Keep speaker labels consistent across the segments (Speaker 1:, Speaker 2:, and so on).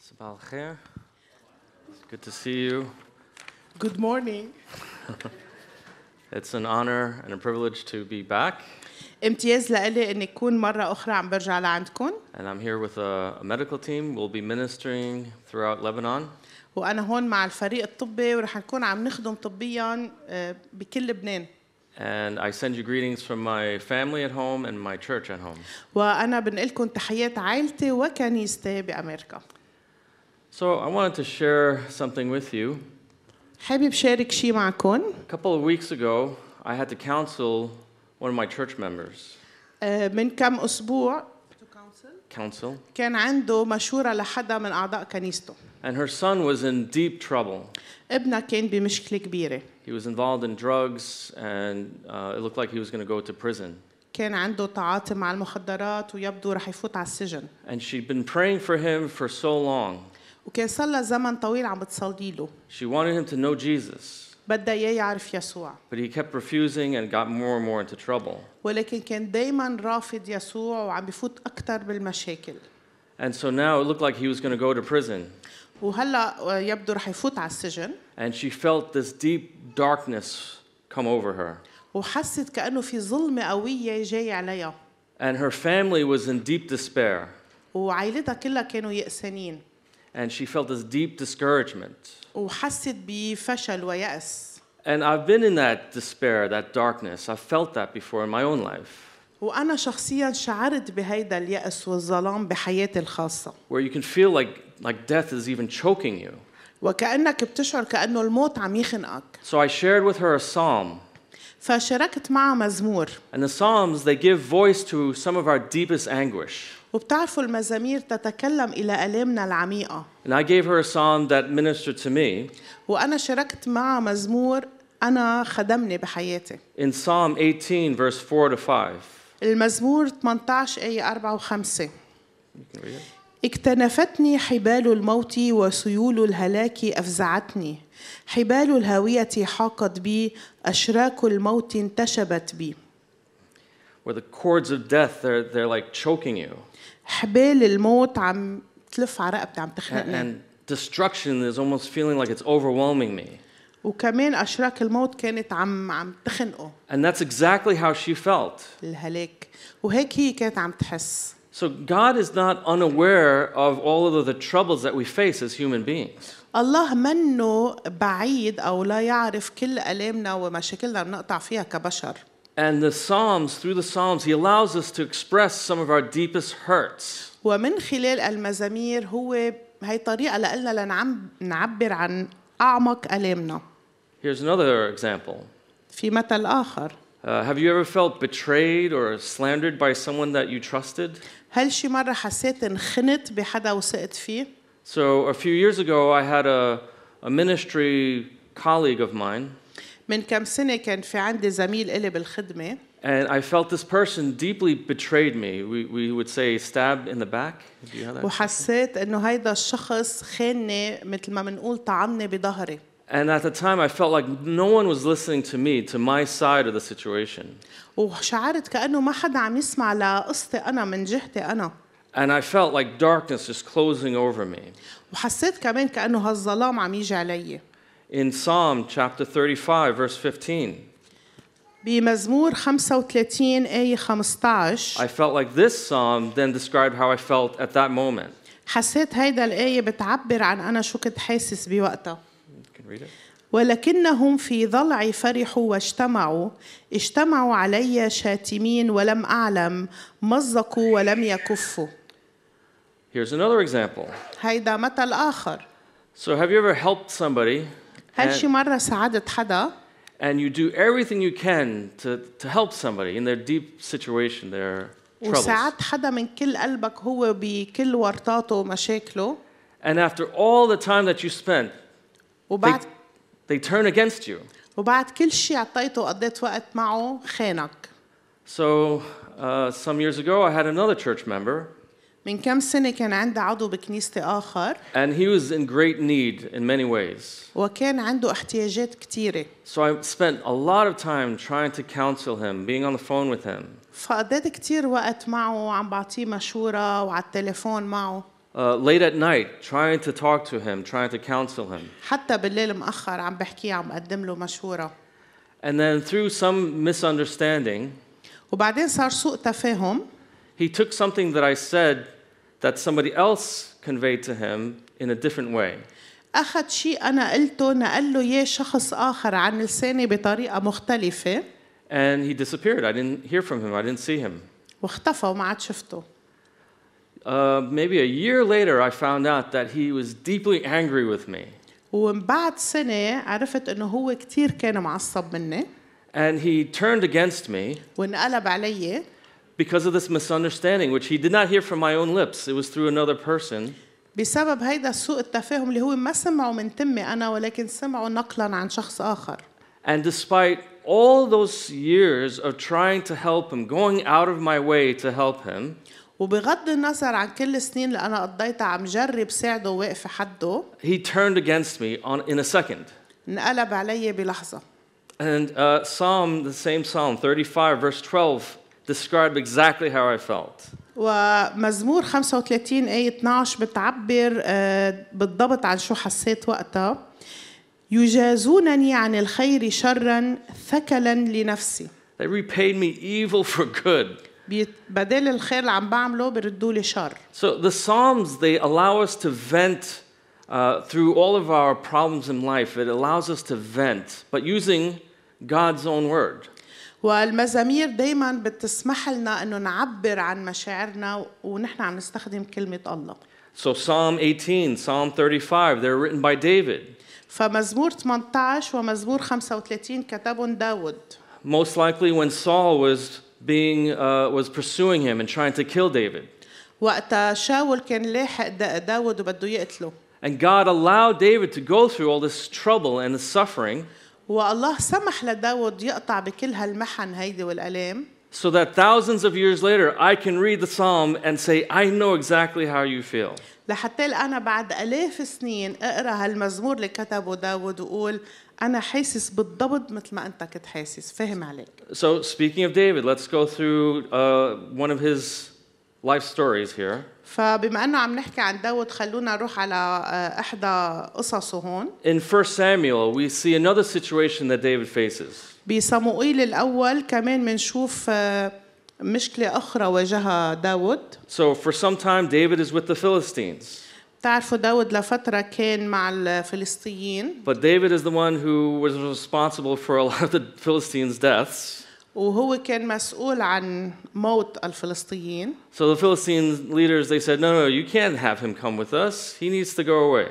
Speaker 1: Sabah al khair. It's good to see you.
Speaker 2: Good morning.
Speaker 1: It's an honor and a privilege to be back.
Speaker 2: امتياز لإلي إني أكون مرة أخرى عم برجع لعندكم
Speaker 1: And I'm here with a, a medical team. We'll be ministering throughout Lebanon.
Speaker 2: وأنا هون مع الفريق الطبي ورح نكون عم نخدم طبيا آه، بكل لبنان
Speaker 1: And I send you greetings from my family at home and my church at home.
Speaker 2: وأنا بنقلكم تحيات عائلتي وكنيستي بأمريكا
Speaker 1: So I wanted to share something with you.
Speaker 2: حابب شارك شي معكم
Speaker 1: A couple of weeks ago, I had to counsel one of my church members.
Speaker 2: آه، من كم أسبوع
Speaker 1: Counsel.
Speaker 2: كان عنده مشورة لحدا من أعضاء كنيسته
Speaker 1: And her son was in deep trouble.
Speaker 2: ابنها كان بمشكلة كبيرة
Speaker 1: He was involved in drugs, and uh, it looked like he was going to go to prison.
Speaker 2: كان عنده تعاطي مع المخدرات ويبدو رح يفوت على السجن
Speaker 1: And she'd been praying for him for so long.
Speaker 2: وكان صار لها زمن طويل عم بتصلي له
Speaker 1: She wanted him to know Jesus,
Speaker 2: بدها اياه يعرف يسوع
Speaker 1: but he kept refusing and got more and more into trouble.
Speaker 2: ولكن كان دايما رافض يسوع وعم بفوت اكثر بالمشاكل
Speaker 1: And so now it looked like he was going to go to prison.
Speaker 2: وهلا يبدو رح يفوت على السجن
Speaker 1: And she felt this deep darkness come over her.
Speaker 2: وحست كانه في ظلمه قويه جاي عليها
Speaker 1: And her family was in deep despair.
Speaker 2: وعائلتها كلها كانوا يأسانين
Speaker 1: And she felt this deep discouragement.
Speaker 2: وحست بفشل ويأس
Speaker 1: And I've been in that despair, that darkness. I've felt that before in my own life,
Speaker 2: وأنا شخصيا شعرت بهيدا اليأس والظلام بحياتي الخاصة
Speaker 1: where you can feel like, like death is even choking you.
Speaker 2: وكأنك بتشعر كأنه الموت عم يخنقك
Speaker 1: So I shared with her a psalm.
Speaker 2: فشاركت معها مزمور
Speaker 1: And the Psalms, they give voice to some of our deepest anguish.
Speaker 2: وبتعرفوا المزامير تتكلم إلى آلامنا العميقة
Speaker 1: And I gave her a psalm that ministered to me
Speaker 2: وأنا شاركت مع مزمور أنا خدمني بحياتي
Speaker 1: in Psalm 18, verse 4 to 5.
Speaker 2: المزمور 18 آية 4 و5
Speaker 1: You can read it.
Speaker 2: اكتنفتني حبال الموت وسيول الهلاك أفزعتني حبال الهاوية حاقت بي أشراك الموت انتشبت بي
Speaker 1: Where the cords of death, they're, they're like choking you.
Speaker 2: حبال الموت عم تلف على رقبتي عم
Speaker 1: And,
Speaker 2: تخنقني
Speaker 1: and destruction is almost feeling like it's overwhelming me.
Speaker 2: وكمان أشراك الموت كانت عم عم تخنقه
Speaker 1: And that's exactly how she felt.
Speaker 2: الهلاك وهيك هي كانت عم تحس
Speaker 1: So God is not unaware of all of the troubles that we face as human beings.
Speaker 2: الله منه بعيد او لا يعرف كل الامنا ومشاكلنا اللي بنقطع فيها كبشر
Speaker 1: And the Psalms, through the Psalms, He allows us to express some of our deepest hurts.
Speaker 2: ومن خلال المزامير هو هي طريقه لنا لنعم نعبر عن اعمق الامنا
Speaker 1: Here's another example.
Speaker 2: في مثل اخر
Speaker 1: Uh, have you ever felt betrayed or slandered by someone that you trusted?
Speaker 2: هل شي مره حسيت انخنت بحدا وثقت فيه
Speaker 1: So, a few years ago, I had a, a ministry colleague of mine,
Speaker 2: من كم سنه كان في عندي زميل إلي بالخدمه
Speaker 1: and I felt this person deeply betrayed me. We, we would say stab in the back. Do you have that?
Speaker 2: وحسيت انه هيدا الشخص خانني مثل ما بنقول طعنني بظهري
Speaker 1: And at the time, I felt like no one was listening to me, to my side of the situation.
Speaker 2: وشعرت كانه ما حدا عم يسمع لقصتي انا من جهتي انا
Speaker 1: And I felt like darkness just closing over me.
Speaker 2: وحسيت كمان كانه هالظلام عم يجي علي
Speaker 1: In Psalm chapter 35, verse 15,
Speaker 2: بمزمور 35 آية 15
Speaker 1: I felt like this psalm then described how I felt at that moment.
Speaker 2: حسيت هيدا الآية بتعبر عن أنا شو كنت حاسس بوقتها
Speaker 1: You can read it.
Speaker 2: ولكنهم في ضلعي فرحوا واجتمعوا اجتمعوا علي شاتمين ولم أعلم مزقوا ولم يكفوا
Speaker 1: Here's another example.
Speaker 2: هيدا مثل آخر
Speaker 1: So, have you ever helped somebody
Speaker 2: هل شي
Speaker 1: and,
Speaker 2: مرة ساعدت حدا
Speaker 1: and you do everything you can to, to help somebody in their deep situation, their troubles?
Speaker 2: وساعدت حدا من كل قلبك هو بكل ورطاته ومشاكله
Speaker 1: And after all the time that you spent, they,
Speaker 2: وبعد
Speaker 1: they turn against you.
Speaker 2: وبعد كل شي عطيته وقضيت وقت معه خانك
Speaker 1: So, uh, some years ago, I had another church member,
Speaker 2: من كم سنة كان عندي عضو بكنيستي آخر
Speaker 1: and he was in great need in many ways.
Speaker 2: وكان عنده احتياجات كتيرة
Speaker 1: So I spent a lot of time trying to counsel him, being on the phone with him.
Speaker 2: فقضيت كتير وقت معه وعم بعطيه مشورة وعلى التليفون معه
Speaker 1: Uh, uh, late at night, trying to talk to him, trying to counsel him.
Speaker 2: حتى بالليل مأخر عم بحكيه عم بقدم له مشورة
Speaker 1: And then through some misunderstanding,
Speaker 2: وبعدين صار سوء تفاهم
Speaker 1: he took something that I said that somebody else conveyed to him in a different way.
Speaker 2: أخذ شيء أنا قلته نقل له إياه شخص آخر عن لساني بطريقة مختلفة
Speaker 1: And he disappeared. I didn't hear from him, I didn't see him.
Speaker 2: واختفى وما عاد شفته
Speaker 1: Uh, maybe a year later, I found out that he was deeply angry with me.
Speaker 2: ومن بعد سنة عرفت إنه هو كتير كان معصب مني
Speaker 1: And he turned against me
Speaker 2: وانقلب علي
Speaker 1: because of this misunderstanding, which he did not hear from my own lips. It was through another person.
Speaker 2: بسبب هيدا سوء التفاهم اللي هو ما سمعه من تمي أنا ولكن سمعه نقلا عن شخص آخر
Speaker 1: And despite all those years of trying to help him, going out of my way to help him,
Speaker 2: وبغض النظر عن كل السنين اللي أنا قضيتها عم جرب ساعده وواقفة حده
Speaker 1: he turned against me on, in a second.
Speaker 2: انقلب علي بلحظة
Speaker 1: And uh, Psalm, the same Psalm 35, verse 12, described exactly how I felt.
Speaker 2: ومزمور 35 آية 12 بتعبر آه، بالضبط عن شو حسيت وقتها يجازونني عن الخير شرا ثكلا لنفسي
Speaker 1: They repaid me evil for good.
Speaker 2: بيت- بدل الخير اللي عم بعمله بردوا لي شر
Speaker 1: So the Psalms, they allow us to vent uh, through all of our problems in life. It allows us to vent, but using God's own word.
Speaker 2: والمزامير دايما بتسمح لنا انه نعبر عن مشاعرنا ونحن عم نستخدم كلمة الله
Speaker 1: So Psalm 18, Psalm 35, they're written by David.
Speaker 2: فمزمور 18 ومزمور 35 كتبهم داود
Speaker 1: Most likely when Saul was being uh, was pursuing him and trying to kill David.
Speaker 2: وقتها شاول كان لاحق دا- داود وبده يقتله
Speaker 1: And God allowed David to go through all this trouble and this suffering
Speaker 2: والله سمح لداود يقطع بكل هالمحن هيدي والآلام
Speaker 1: so that thousands of years later I can read the psalm and say, I know exactly how you feel.
Speaker 2: لحتى أنا بعد آلاف سنين أقرأ هالمزمور اللي كتبه داود وأقول أنا حاسس بالضبط مثل ما أنت كنت حاسس فاهم عليك
Speaker 1: So, speaking of David, let's go through uh, one of his life stories here.
Speaker 2: فبما أنه عم نحكي عن داود خلونا نروح على آه، إحدى قصصه هون
Speaker 1: In 1 Samuel, we see another situation that David faces.
Speaker 2: بصموئيل الأول كمان منشوف آه، مشكلة أخرى واجهها داود
Speaker 1: So, for some time, David is with the Philistines,
Speaker 2: بتعرفوا داود لفترة كان مع الفلسطينيين
Speaker 1: but David is the one who was responsible for a lot of the Philistines' deaths.
Speaker 2: وهو كان مسؤول عن موت الفلسطينيين
Speaker 1: So, the Philistine leaders they said, "No, no, you can't have him come with us. He needs to go away."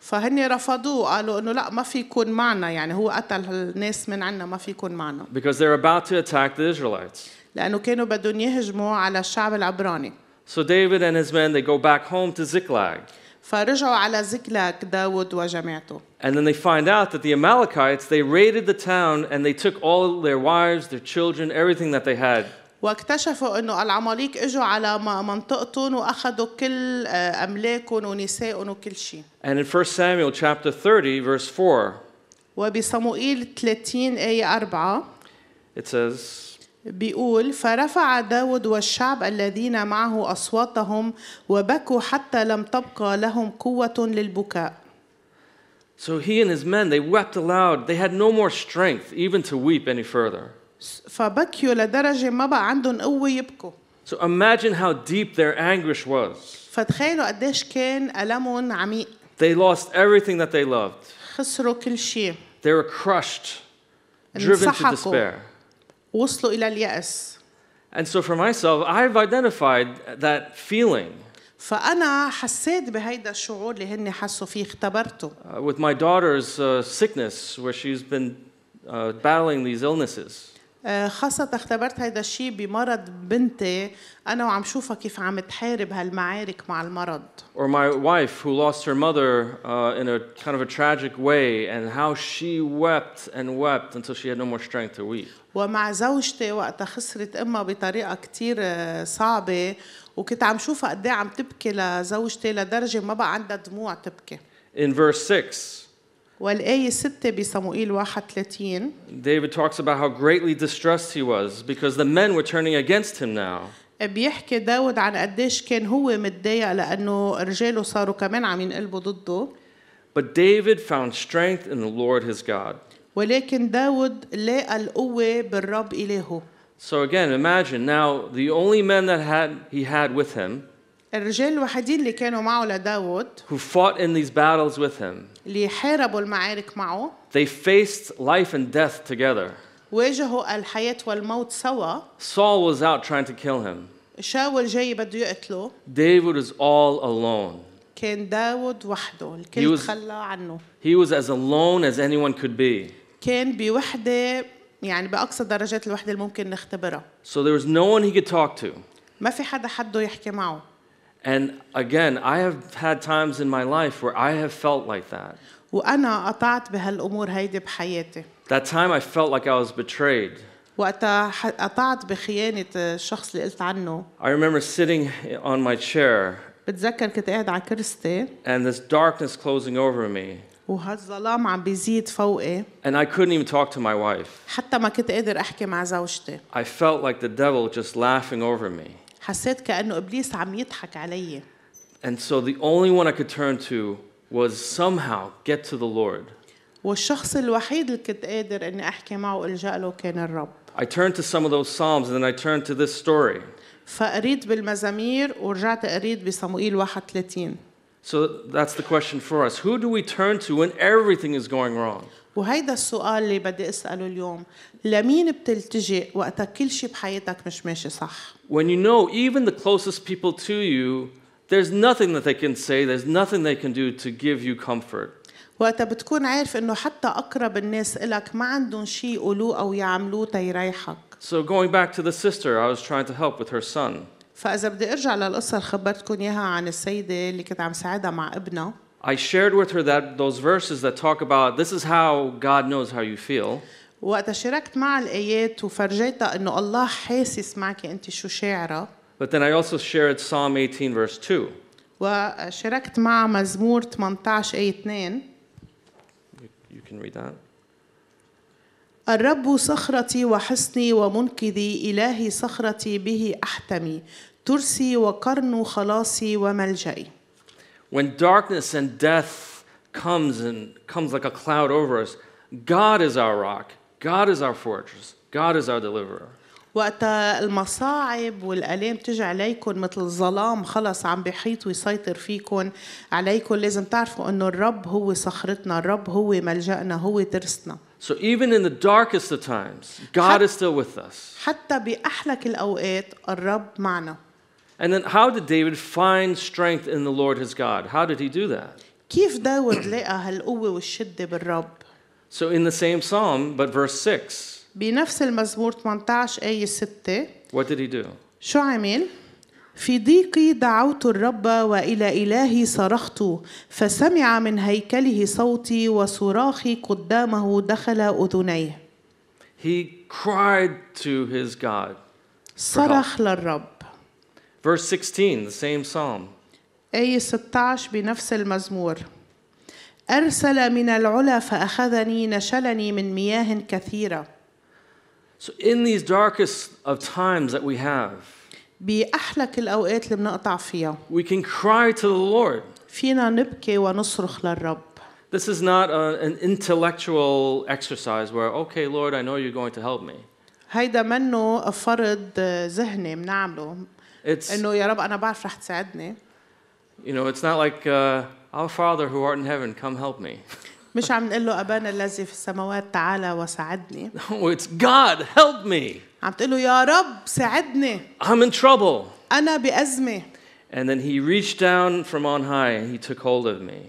Speaker 2: فهن رفضوه قالوا انه لا ما في يكون معنا يعني هو قتل الناس من عنا ما في يكون معنا
Speaker 1: Because they're about to attack the Israelites.
Speaker 2: لانه كانوا بدهم يهجموا على الشعب العبراني
Speaker 1: So David and his men they go back home to Ziklag.
Speaker 2: فرجعوا على زكلاك داود وجماعته
Speaker 1: And then they find out that the Amalekites, they raided the town and they took all their wives, their children, everything that they had.
Speaker 2: واكتشفوا انه العماليق اجوا على م- منطقتهم واخذوا كل آه، املاكهم ونسائهم وكل شيء
Speaker 1: And in 1 Samuel chapter 30, verse 4,
Speaker 2: وبصموئيل 30 آية 4
Speaker 1: it says,
Speaker 2: بيقول فرفع داود والشعب الذين معه أصواتهم وبكوا حتى لم تبقى لهم قوة للبكاء
Speaker 1: So he and his men, they wept aloud. They had no more strength even to weep any further.
Speaker 2: فبكيوا لدرجة ما بقى عندهم قوة يبكوا
Speaker 1: So imagine how deep their anguish was.
Speaker 2: فتخيلوا قديش كان ألمهم عميق
Speaker 1: They lost everything that they loved.
Speaker 2: خسروا كل شيء
Speaker 1: They were crushed, driven to
Speaker 2: انسحقوا.
Speaker 1: despair.
Speaker 2: وصلوا إلى اليأس
Speaker 1: And so for myself, I've identified that feeling.
Speaker 2: فأنا حسيت بهيدا الشعور اللي هن حسوا فيه اختبرته
Speaker 1: Uh, with my daughter's uh, sickness, where she's been uh, battling these illnesses.
Speaker 2: آه، خاصة اختبرت هيدا الشيء بمرض بنتي أنا وعم شوفها كيف عم تحارب هالمعارك مع المرض
Speaker 1: Or my wife, who lost her mother uh, in a kind of a tragic way, and how she wept and wept until she had no more strength to weep.
Speaker 2: ومع زوجتي وقتها خسرت امها بطريقه كتير آه، صعبه وكنت عم شوفها قد إيه عم تبكي لزوجتي لدرجه ما بقى عندها دموع تبكي
Speaker 1: In verse 6,
Speaker 2: والآية 6 بصموئيل 31
Speaker 1: David talks about how greatly distressed he was because the men were turning against him now.
Speaker 2: آه، بيحكي داود عن قديش كان هو متضايق لأنه رجاله صاروا كمان عم ينقلبوا ضده
Speaker 1: But David found strength in the Lord his God.
Speaker 2: ولكن داود لاقى القوة بالرب إلهه
Speaker 1: So again, imagine now the only men that had he had with him,
Speaker 2: الرجال الوحيدين اللي كانوا معه لداود
Speaker 1: who fought in these battles with him,
Speaker 2: اللي حاربوا المعارك معه
Speaker 1: they faced life and death together.
Speaker 2: واجهوا الحياة والموت سوا
Speaker 1: Saul was out trying to kill him.
Speaker 2: شاول جاي بده يقتله
Speaker 1: David was all alone.
Speaker 2: كان داود وحده
Speaker 1: He
Speaker 2: الكل
Speaker 1: was-
Speaker 2: تخلى عنه
Speaker 1: He was as alone as anyone could be.
Speaker 2: كان بوحدة يعني بأقصى درجات الوحدة اللي ممكن نختبرها
Speaker 1: So there was no one he could talk to.
Speaker 2: ما في حدا حده يحكي معه
Speaker 1: And again, I have had times in my life where I have felt like that.
Speaker 2: وأنا قطعت بهالأمور هيدي بحياتي
Speaker 1: That time I felt like I was betrayed.
Speaker 2: وقتها ح- قطعت بخيانة الشخص اللي قلت عنه
Speaker 1: I remember sitting on my chair
Speaker 2: بتذكر كنت قاعد على كرستي
Speaker 1: and this darkness closing over me,
Speaker 2: وهالظلام عم بيزيد فوقي
Speaker 1: and I couldn't even talk to my wife.
Speaker 2: حتى ما كنت قادر أحكي مع زوجتي
Speaker 1: I felt like the devil just laughing over me.
Speaker 2: حسيت كأنه إبليس عم يضحك علي
Speaker 1: And so the only one I could turn to was somehow get to the Lord.
Speaker 2: والشخص الوحيد اللي كنت قادر اني احكي معه والجا له كان الرب
Speaker 1: I turned to some of those Psalms and then I turned to this story.
Speaker 2: فقريت بالمزامير ورجعت قريت بصموئيل 31
Speaker 1: So that's the question for us. Who do we turn to when everything is going wrong?
Speaker 2: وهيدا السؤال اللي بدي اساله اليوم لمين بتلتجئ وقتها كل شيء بحياتك مش ماشي صح
Speaker 1: When you know even the closest people to you, there's nothing that they can say, there's nothing they can do to give you comfort.
Speaker 2: وقتها بتكون عارف انه حتى اقرب الناس الك ما عندهم شيء يقولوه او يعملوه تيريحك
Speaker 1: So going back to the sister I was trying to help with her son,
Speaker 2: فاذا بدي ارجع للقصه اللي خبرتكم اياها عن السيده اللي كنت عم ساعدها مع ابنها
Speaker 1: I shared with her that those verses that talk about this is how God knows how you feel.
Speaker 2: وقتها شاركت مع الايات وفرجيتها انه الله حاسس معك انت شو شاعره
Speaker 1: But then I also shared Psalm 18 verse 2.
Speaker 2: وشاركت مع مزمور آية 18 اي 2
Speaker 1: You, you can read that.
Speaker 2: الرب صخرتي وحصني ومنقذي إلهي صخرتي به أحتمي ترسي وقرن خلاصي وملجئي
Speaker 1: When darkness and death comes and comes like a cloud over us, God is our rock. God is our fortress. God is our deliverer.
Speaker 2: وقت المصاعب والآلام تجي عليكم مثل الظلام خلص عم بيحيط ويسيطر فيكم عليكم لازم تعرفوا انه الرب هو صخرتنا الرب هو ملجأنا هو ترسنا
Speaker 1: So even in the darkest of times, God is still with us.
Speaker 2: حتى بأحلك الأوقات الرب معنا
Speaker 1: And then how did David find strength in the Lord his God? How did he do that?
Speaker 2: كيف داود لقى هالقوة والشدة بالرب
Speaker 1: So in the same psalm, but verse 6,
Speaker 2: بنفس المزمور 18 آية 6
Speaker 1: what did he do?
Speaker 2: شو عمل؟ في ضيقي دعوت الرب والى الهي صرخت فسمع من هيكله صوتي وصراخي قدامه دخل اذنيه
Speaker 1: He cried to his God.
Speaker 2: صرخ للرب
Speaker 1: Verse 16, the same psalm.
Speaker 2: آية 16 بنفس المزمور أرسل من العلا فأخذني نشلني من مياه كثيرة
Speaker 1: So in these darkest of times that we have,
Speaker 2: بأحلك الأوقات اللي بنقطع فيها
Speaker 1: we can cry to the Lord.
Speaker 2: فينا نبكي ونصرخ للرب
Speaker 1: This is not a, an intellectual exercise where, okay, Lord, I know you're going to help me.
Speaker 2: هيدا منه فرض ذهني بنعمله
Speaker 1: It's,
Speaker 2: انه يا رب انا بعرف رح تساعدني
Speaker 1: you know, it's not like, uh, our Father who art in heaven, come help me.
Speaker 2: مش عم نقول له ابانا الذي في السماوات تعالى وساعدني
Speaker 1: No, it's God, help me.
Speaker 2: عم تقول له يا رب ساعدني
Speaker 1: I'm in trouble.
Speaker 2: انا بازمه
Speaker 1: And then he reached down from on high and he took hold of me.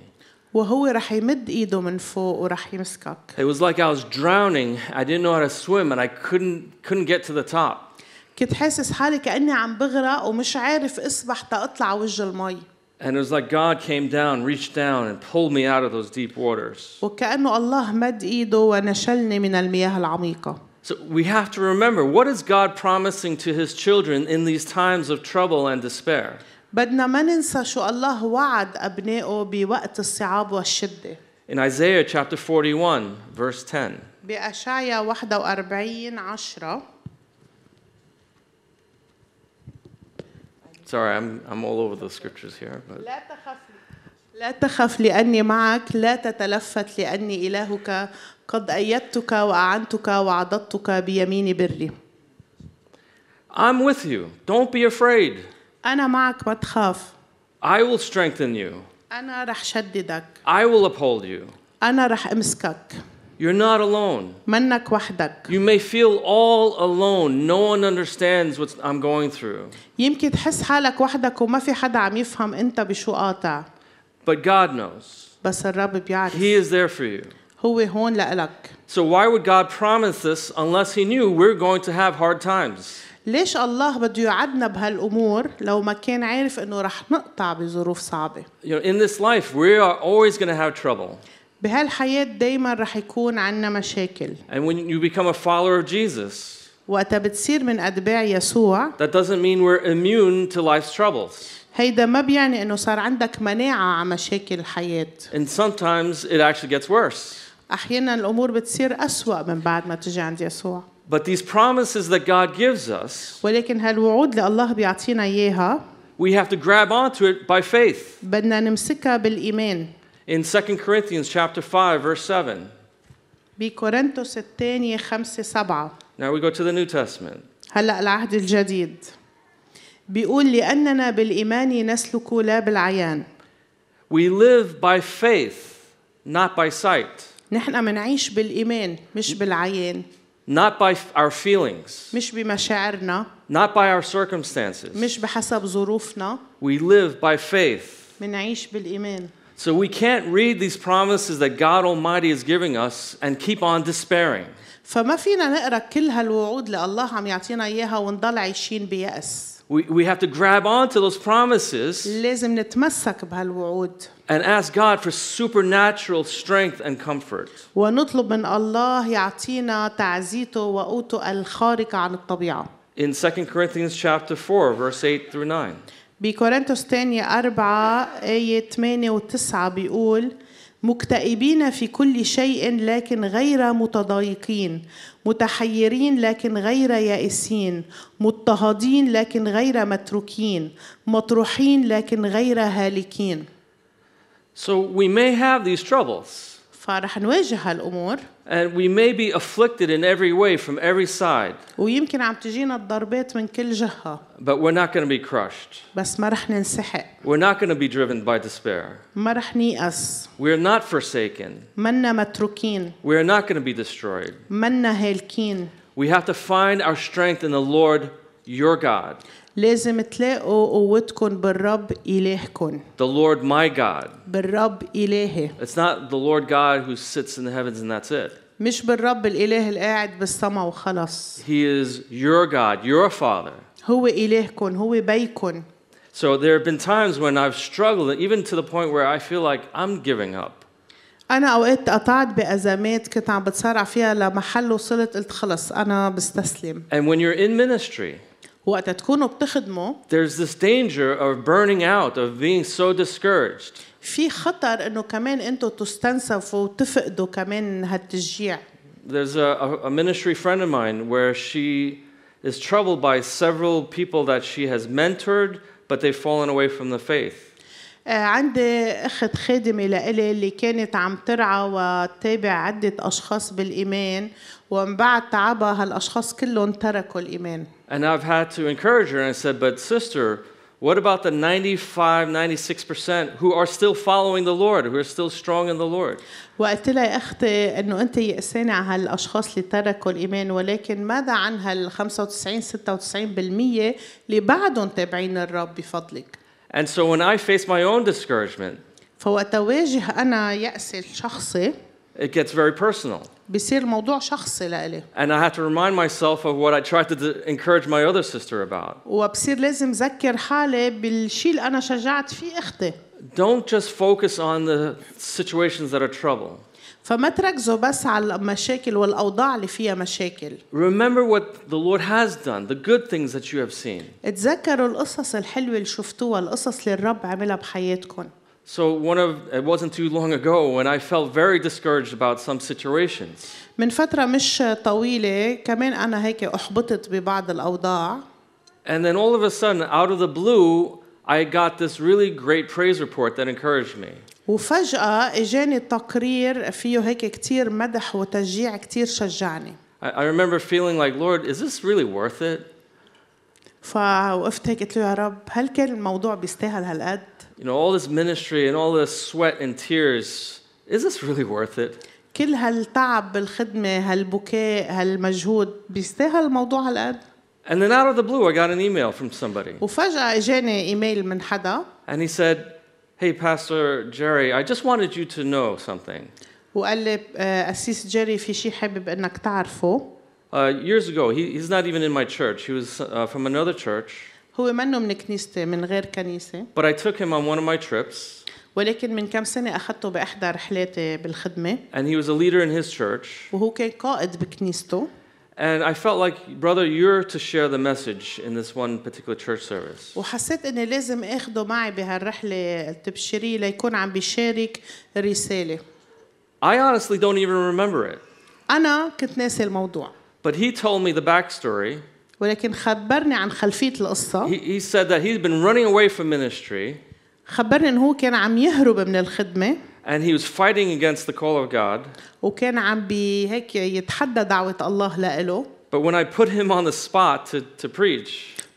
Speaker 2: وهو رح يمد ايده من فوق ورح يمسكك
Speaker 1: It was like I was drowning. I didn't know how to swim and I couldn't, couldn't get to the top.
Speaker 2: كنت حاسس حالي كاني عم بغرق ومش عارف اصبح تطلع وجه المي
Speaker 1: And it was like God came down, reached down, and pulled me out of those deep waters.
Speaker 2: وكانه الله مد ايده ونشلني من المياه العميقه
Speaker 1: So we have to remember what is God promising to his children in these times of trouble and despair?
Speaker 2: بدنا ما ننسى شو الله وعد ابنائه بوقت الصعاب والشده
Speaker 1: In Isaiah chapter 41, verse 10.
Speaker 2: بأشعيا 41 10
Speaker 1: Sorry, I'm, I'm all over the scriptures here. But
Speaker 2: لا تخف لا تخف لأني معك لا تتلفت لأني إلهك قد أيدتك وأعنتك وعضدتك بيمين بري
Speaker 1: I'm with you. Don't be afraid.
Speaker 2: أنا معك ما تخاف
Speaker 1: I will strengthen you.
Speaker 2: أنا رح شددك
Speaker 1: I will uphold you.
Speaker 2: أنا رح أمسكك
Speaker 1: You're not alone.
Speaker 2: منك وحدك
Speaker 1: You may feel all alone. No one understands what I'm going through.
Speaker 2: يمكن تحس حالك وحدك وما في حدا عم يفهم أنت بشو قاطع
Speaker 1: But God knows.
Speaker 2: بس الرب بيعرف
Speaker 1: He is there for you.
Speaker 2: هو هون لإلك
Speaker 1: So why would God promise this unless he knew we're going to have hard times?
Speaker 2: ليش الله بده يوعدنا بهالأمور لو ما كان عارف إنه رح نقطع بظروف صعبة
Speaker 1: You know, in this life, we are always going to have trouble.
Speaker 2: بهالحياة دايما رح يكون عنا مشاكل
Speaker 1: And when you become a follower of Jesus,
Speaker 2: وقتها بتصير من أتباع يسوع
Speaker 1: that doesn't mean we're immune to life's troubles.
Speaker 2: هيدا ما بيعني إنه صار عندك مناعة على مشاكل الحياة
Speaker 1: And sometimes it actually gets worse.
Speaker 2: أحيانا الأمور بتصير أسوأ من بعد ما تجي عند يسوع
Speaker 1: But these promises that God gives us,
Speaker 2: ولكن هالوعود اللي الله بيعطينا إياها
Speaker 1: we have to grab onto it by faith.
Speaker 2: بدنا نمسكها بالإيمان
Speaker 1: In 2 Corinthians chapter 5 verse 7.
Speaker 2: بكورنثوس الثانية خمسة سبعة
Speaker 1: Now we go to the New Testament.
Speaker 2: هلأ العهد الجديد بيقول لأننا بالإيمان نسلك لا بالعيان
Speaker 1: We live by faith, not by sight,
Speaker 2: نحن منعيش بالإيمان مش بالعيان
Speaker 1: not by f- our feelings,
Speaker 2: مش بمشاعرنا
Speaker 1: not by our circumstances.
Speaker 2: مش بحسب ظروفنا
Speaker 1: We live by faith.
Speaker 2: منعيش بالإيمان
Speaker 1: So we can't read these promises that God Almighty is giving us and keep on despairing.
Speaker 2: فما فينا نقرا كل هالوعود اللي الله عم يعطينا اياها ونضل عايشين بيأس
Speaker 1: We, we have to grab onto those promises
Speaker 2: لازم نتمسك بهالوعود
Speaker 1: and ask God for supernatural strength and comfort.
Speaker 2: ونطلب من الله يعطينا تعزيته وقوته الخارقة عن الطبيعة
Speaker 1: In 2 Corinthians chapter 4 verse 8 through 9.
Speaker 2: بكورنثوس الثانية أربعة آية 8 و9 بيقول مكتئبين في كل شيء لكن غير متضايقين متحيرين لكن غير يائسين مضطهدين لكن غير متروكين مطروحين لكن غير هالكين
Speaker 1: So we may have these troubles.
Speaker 2: فرح نواجه هالأمور
Speaker 1: And we may be afflicted in every way from every side,
Speaker 2: ويمكن عم تجينا الضربات من كل جهة
Speaker 1: but we're not going to be crushed.
Speaker 2: بس ما رح ننسحق
Speaker 1: We're not going to be driven by despair.
Speaker 2: ما رح نيأس
Speaker 1: We're not forsaken.
Speaker 2: منا متروكين
Speaker 1: We're not going to be destroyed.
Speaker 2: منا هالكين
Speaker 1: We have to find our strength in the Lord, your God,
Speaker 2: لازم تلاقوا قوتكم بالرب إلهكم
Speaker 1: the Lord, my God.
Speaker 2: بالرب إلهي
Speaker 1: It's not the Lord God who sits in the heavens and that's it.
Speaker 2: مش بالرب الإله القاعد بالسما وخلص
Speaker 1: He is your God, your Father.
Speaker 2: هو إلهكم هو بيكم
Speaker 1: So there have been times when I've struggled, even to the point where I feel like I'm giving up.
Speaker 2: أنا أوقات قطعت بأزمات كنت عم بتصارع فيها لمحل وصلت قلت خلص أنا بستسلم
Speaker 1: And when you're in ministry,
Speaker 2: وقتها تكونوا بتخدموا
Speaker 1: there's this danger of burning out, of being so discouraged.
Speaker 2: في خطر انه كمان انتم تستنسفوا وتفقدوا كمان هالتشجيع
Speaker 1: There's a, a, a ministry friend of mine where she is troubled by several people that she has mentored, but they've fallen away from the faith.
Speaker 2: آه، عندي اخت خادمه لإلي اللي كانت عم ترعى وتتابع عده اشخاص بالايمان ومن بعد تعبها هالاشخاص كلهم تركوا الايمان
Speaker 1: And I've had to encourage her and I said, But sister, what about the 95, 96% who are still following the Lord, who are still strong in the Lord?
Speaker 2: وقلت لها يا اختي انه انت يأسانة على هالاشخاص اللي تركوا الايمان ولكن ماذا عن هال 95 96% اللي بعدهم تابعين الرب بفضلك
Speaker 1: And so when I face my own discouragement,
Speaker 2: فوقت واجه انا يأسي الشخصي
Speaker 1: it gets very personal.
Speaker 2: بصير موضوع شخصي لإلي
Speaker 1: And I have to remind myself of what I tried to d- encourage my other sister about.
Speaker 2: وبصير لازم ذكر حالي بالشيء اللي انا شجعت فيه اختي
Speaker 1: Don't just focus on the situations that are trouble.
Speaker 2: فما تركزوا بس على المشاكل والاوضاع اللي فيها مشاكل
Speaker 1: Remember what the Lord has done, the good things that you have seen.
Speaker 2: تذكروا القصص الحلوه اللي شفتوها القصص اللي الرب عملها بحياتكم
Speaker 1: So one of it wasn't too long ago when I felt very discouraged about some situations.
Speaker 2: من فتره مش طويله كمان انا هيك احبطت ببعض الاوضاع
Speaker 1: And then all of a sudden, out of the blue, I got this really great praise report that encouraged me.
Speaker 2: وفجأة اجاني تقرير فيه هيك كتير مدح وتشجيع كتير شجعني
Speaker 1: I, I remember feeling like, Lord, is this really worth it?
Speaker 2: فوقفت هيك قلت له يا رب هل كان الموضوع بيستاهل هالقد؟
Speaker 1: You know, all this ministry and all this sweat and tears, is this really worth it?
Speaker 2: كل هالتعب بالخدمة هالبكاء هالمجهود بيستاهل الموضوع هالقد؟
Speaker 1: And then out of the blue, I got an email from somebody.
Speaker 2: وفجأة اجاني ايميل من حدا
Speaker 1: And he said, Hey, Pastor Jerry, I just wanted you to know something.
Speaker 2: وقال لي آه، قسيس جيري في شيء حابب انك تعرفه
Speaker 1: Uh, years ago, he, he's not even in my church. He was uh, from another church,
Speaker 2: هو منه من كنيستي من غير كنيسة
Speaker 1: but I took him on one of my trips,
Speaker 2: ولكن من كم سنة أخدته بإحدى رحلاتي بالخدمة
Speaker 1: and he was a leader in his church.
Speaker 2: وهو كان قائد بكنيسته
Speaker 1: And I felt like, brother, you're to share the message in this one particular church service.
Speaker 2: وحسيت اني لازم اخده معي بهالرحله التبشيريه ليكون عم بيشارك رساله
Speaker 1: I honestly don't even remember it,
Speaker 2: انا كنت ناسي الموضوع
Speaker 1: but he told me the backstory.
Speaker 2: ولكن خبرني عن خلفيه القصه
Speaker 1: He, he said that he'd been running away from ministry
Speaker 2: خبرني انه هو كان عم يهرب من الخدمه
Speaker 1: and he was fighting against the call of God.
Speaker 2: وكان عم بي هيك يتحدى دعوه الله لإله
Speaker 1: But when I put him on the spot to, to preach,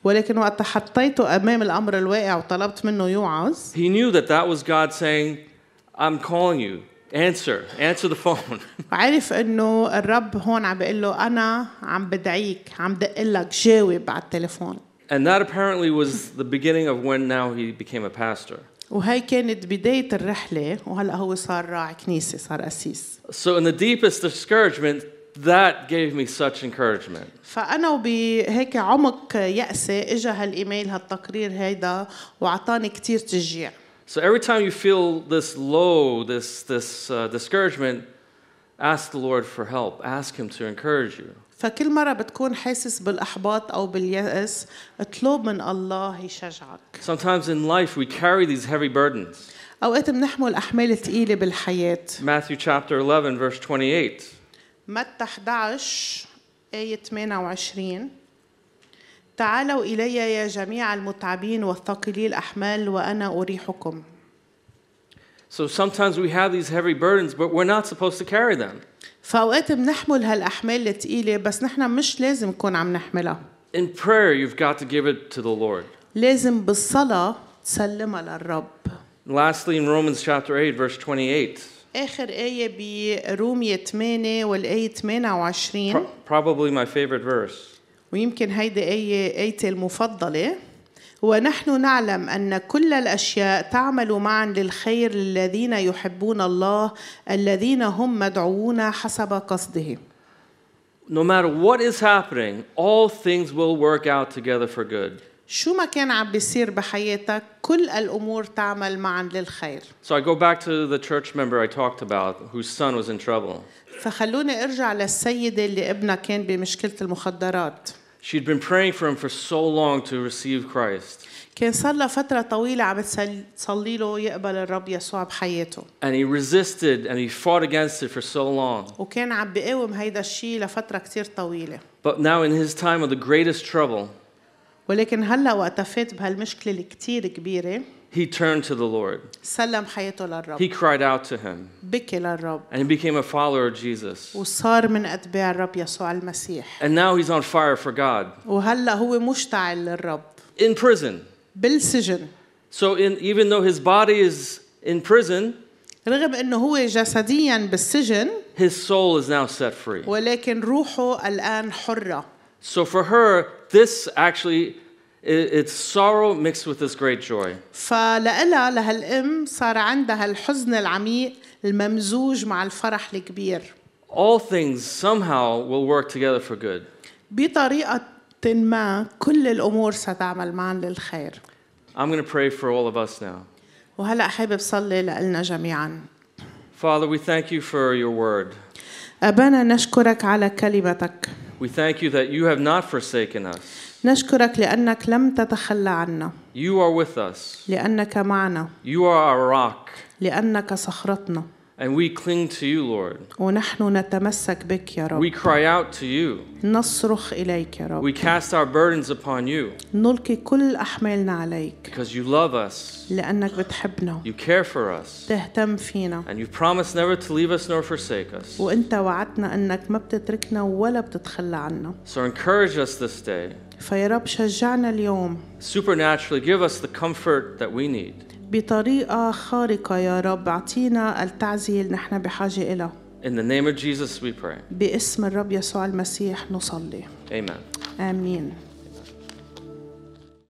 Speaker 2: ولكن وقت حطيته امام الامر الواقع وطلبت منه يوعظ
Speaker 1: he knew that that was God saying, I'm calling you. Answer, answer the phone.
Speaker 2: عرف انه الرب هون عم بيقول له انا عم بدعيك عم دقلك جاوب على التليفون
Speaker 1: and that apparently was the beginning of when now he became a pastor.
Speaker 2: وهي كانت بداية الرحلة وهلا هو صار راعي كنيسة صار قسيس
Speaker 1: So, in the deepest discouragement, that gave me such encouragement.
Speaker 2: فأنا وبهيك عمق يأسي إجا هالإيميل هالتقرير هيدا وعطاني كتير تشجيع
Speaker 1: So, every time you feel this low, this, this uh, discouragement, ask the Lord for help. Ask Him to encourage you.
Speaker 2: فكل مرة بتكون حاسس بالإحباط أو باليأس اطلب من الله يشجعك
Speaker 1: Sometimes in life, we carry these heavy burdens.
Speaker 2: أوقات بنحمل أحمال تقيلة بالحياة
Speaker 1: Matthew chapter 11, verse 28.
Speaker 2: متى 11 آية 28 تعالوا إلي يا جميع المتعبين والثقلي الأحمال وأنا أريحكم
Speaker 1: So sometimes we have these heavy burdens, but we're not supposed to carry them.
Speaker 2: فأوقات بنحمل هالأحمال التقيلة بس نحن مش لازم نكون عم نحملها
Speaker 1: In prayer, you've got to give it to the Lord.
Speaker 2: لازم بالصلاة تسلمها للرب
Speaker 1: And lastly, in Romans chapter 8, verse 28,
Speaker 2: آخر آية برومية 8 والآية
Speaker 1: pro-
Speaker 2: 28
Speaker 1: probably my favorite verse.
Speaker 2: ويمكن هيدي آية آيتي المفضلة ونحن نعلم أن كل الأشياء تعمل معا للخير للذين يحبون الله الذين هم مدعوون حسب قصده
Speaker 1: No matter what is happening, all things will work out together for good.
Speaker 2: شو ما كان عم بيصير بحياتك كل الأمور تعمل معا للخير
Speaker 1: So I go back to the church member I talked about whose son was in trouble.
Speaker 2: فخلوني ارجع للسيدة اللي ابنها كان بمشكلة المخدرات
Speaker 1: She'd been praying for him for so long to receive Christ,
Speaker 2: كان صار لها فترة طويلة عم تسل- تصلي له يقبل الرب يسوع بحياته
Speaker 1: and he resisted and he fought against it for so long.
Speaker 2: وكان عم بيقاوم هيدا الشيء لفترة كتير طويلة
Speaker 1: But now, in his time of the greatest trouble,
Speaker 2: ولكن هلا وقتها فات بهالمشكلة الكتير كبيرة
Speaker 1: he turned to the Lord.
Speaker 2: سلم حياته للرب
Speaker 1: He cried out to him,
Speaker 2: بكي للرب
Speaker 1: and he became a follower of Jesus.
Speaker 2: وصار من أتباع الرب يسوع المسيح
Speaker 1: And now he's on fire for God
Speaker 2: وهلا هو مشتعل للرب
Speaker 1: in prison.
Speaker 2: بالسجن
Speaker 1: So, in, even though his body is in prison,
Speaker 2: رغم انه هو جسديا بالسجن
Speaker 1: his soul is now set free.
Speaker 2: ولكن روحه الان حره
Speaker 1: So, for her, this actually i- it's sorrow mixed with this great joy.
Speaker 2: فلإلها لهالأم صار عندها الحزن العميق الممزوج مع الفرح الكبير
Speaker 1: All things somehow will work together for good.
Speaker 2: بطريقة ما كل الأمور ستعمل معا للخير
Speaker 1: I'm going to pray for all of us now.
Speaker 2: وهلأ حابب صلي لإلنا جميعا
Speaker 1: Father, we thank you for your word.
Speaker 2: أبانا نشكرك على كلمتك
Speaker 1: We thank you that you have not forsaken us.
Speaker 2: نشكرك لأنك لم تتخلى عنا
Speaker 1: You are with us.
Speaker 2: لأنك معنا
Speaker 1: You are our rock,
Speaker 2: لأنك صخرتنا
Speaker 1: And we cling to you, Lord.
Speaker 2: ونحن نتمسك بك يا رب
Speaker 1: We cry out to you.
Speaker 2: نصرخ إليك يا رب
Speaker 1: We cast our burdens upon you
Speaker 2: نلقي كل أحمالنا عليك
Speaker 1: because you love us,
Speaker 2: لأنك بتحبنا
Speaker 1: you care for us,
Speaker 2: تهتم فينا
Speaker 1: and you promise never to leave us nor forsake us.
Speaker 2: وانت وعدتنا انك ما بتتركنا ولا بتتخلى عنا
Speaker 1: So encourage us this day.
Speaker 2: فيا رب شجعنا اليوم
Speaker 1: Supernaturally, give us the comfort that we need
Speaker 2: بطريقة خارقة يا رب اعطينا التعزية اللي نحن بحاجة إلها
Speaker 1: In the name of Jesus, we pray.
Speaker 2: باسم الرب يسوع المسيح نصلي
Speaker 1: Amen.
Speaker 2: آمين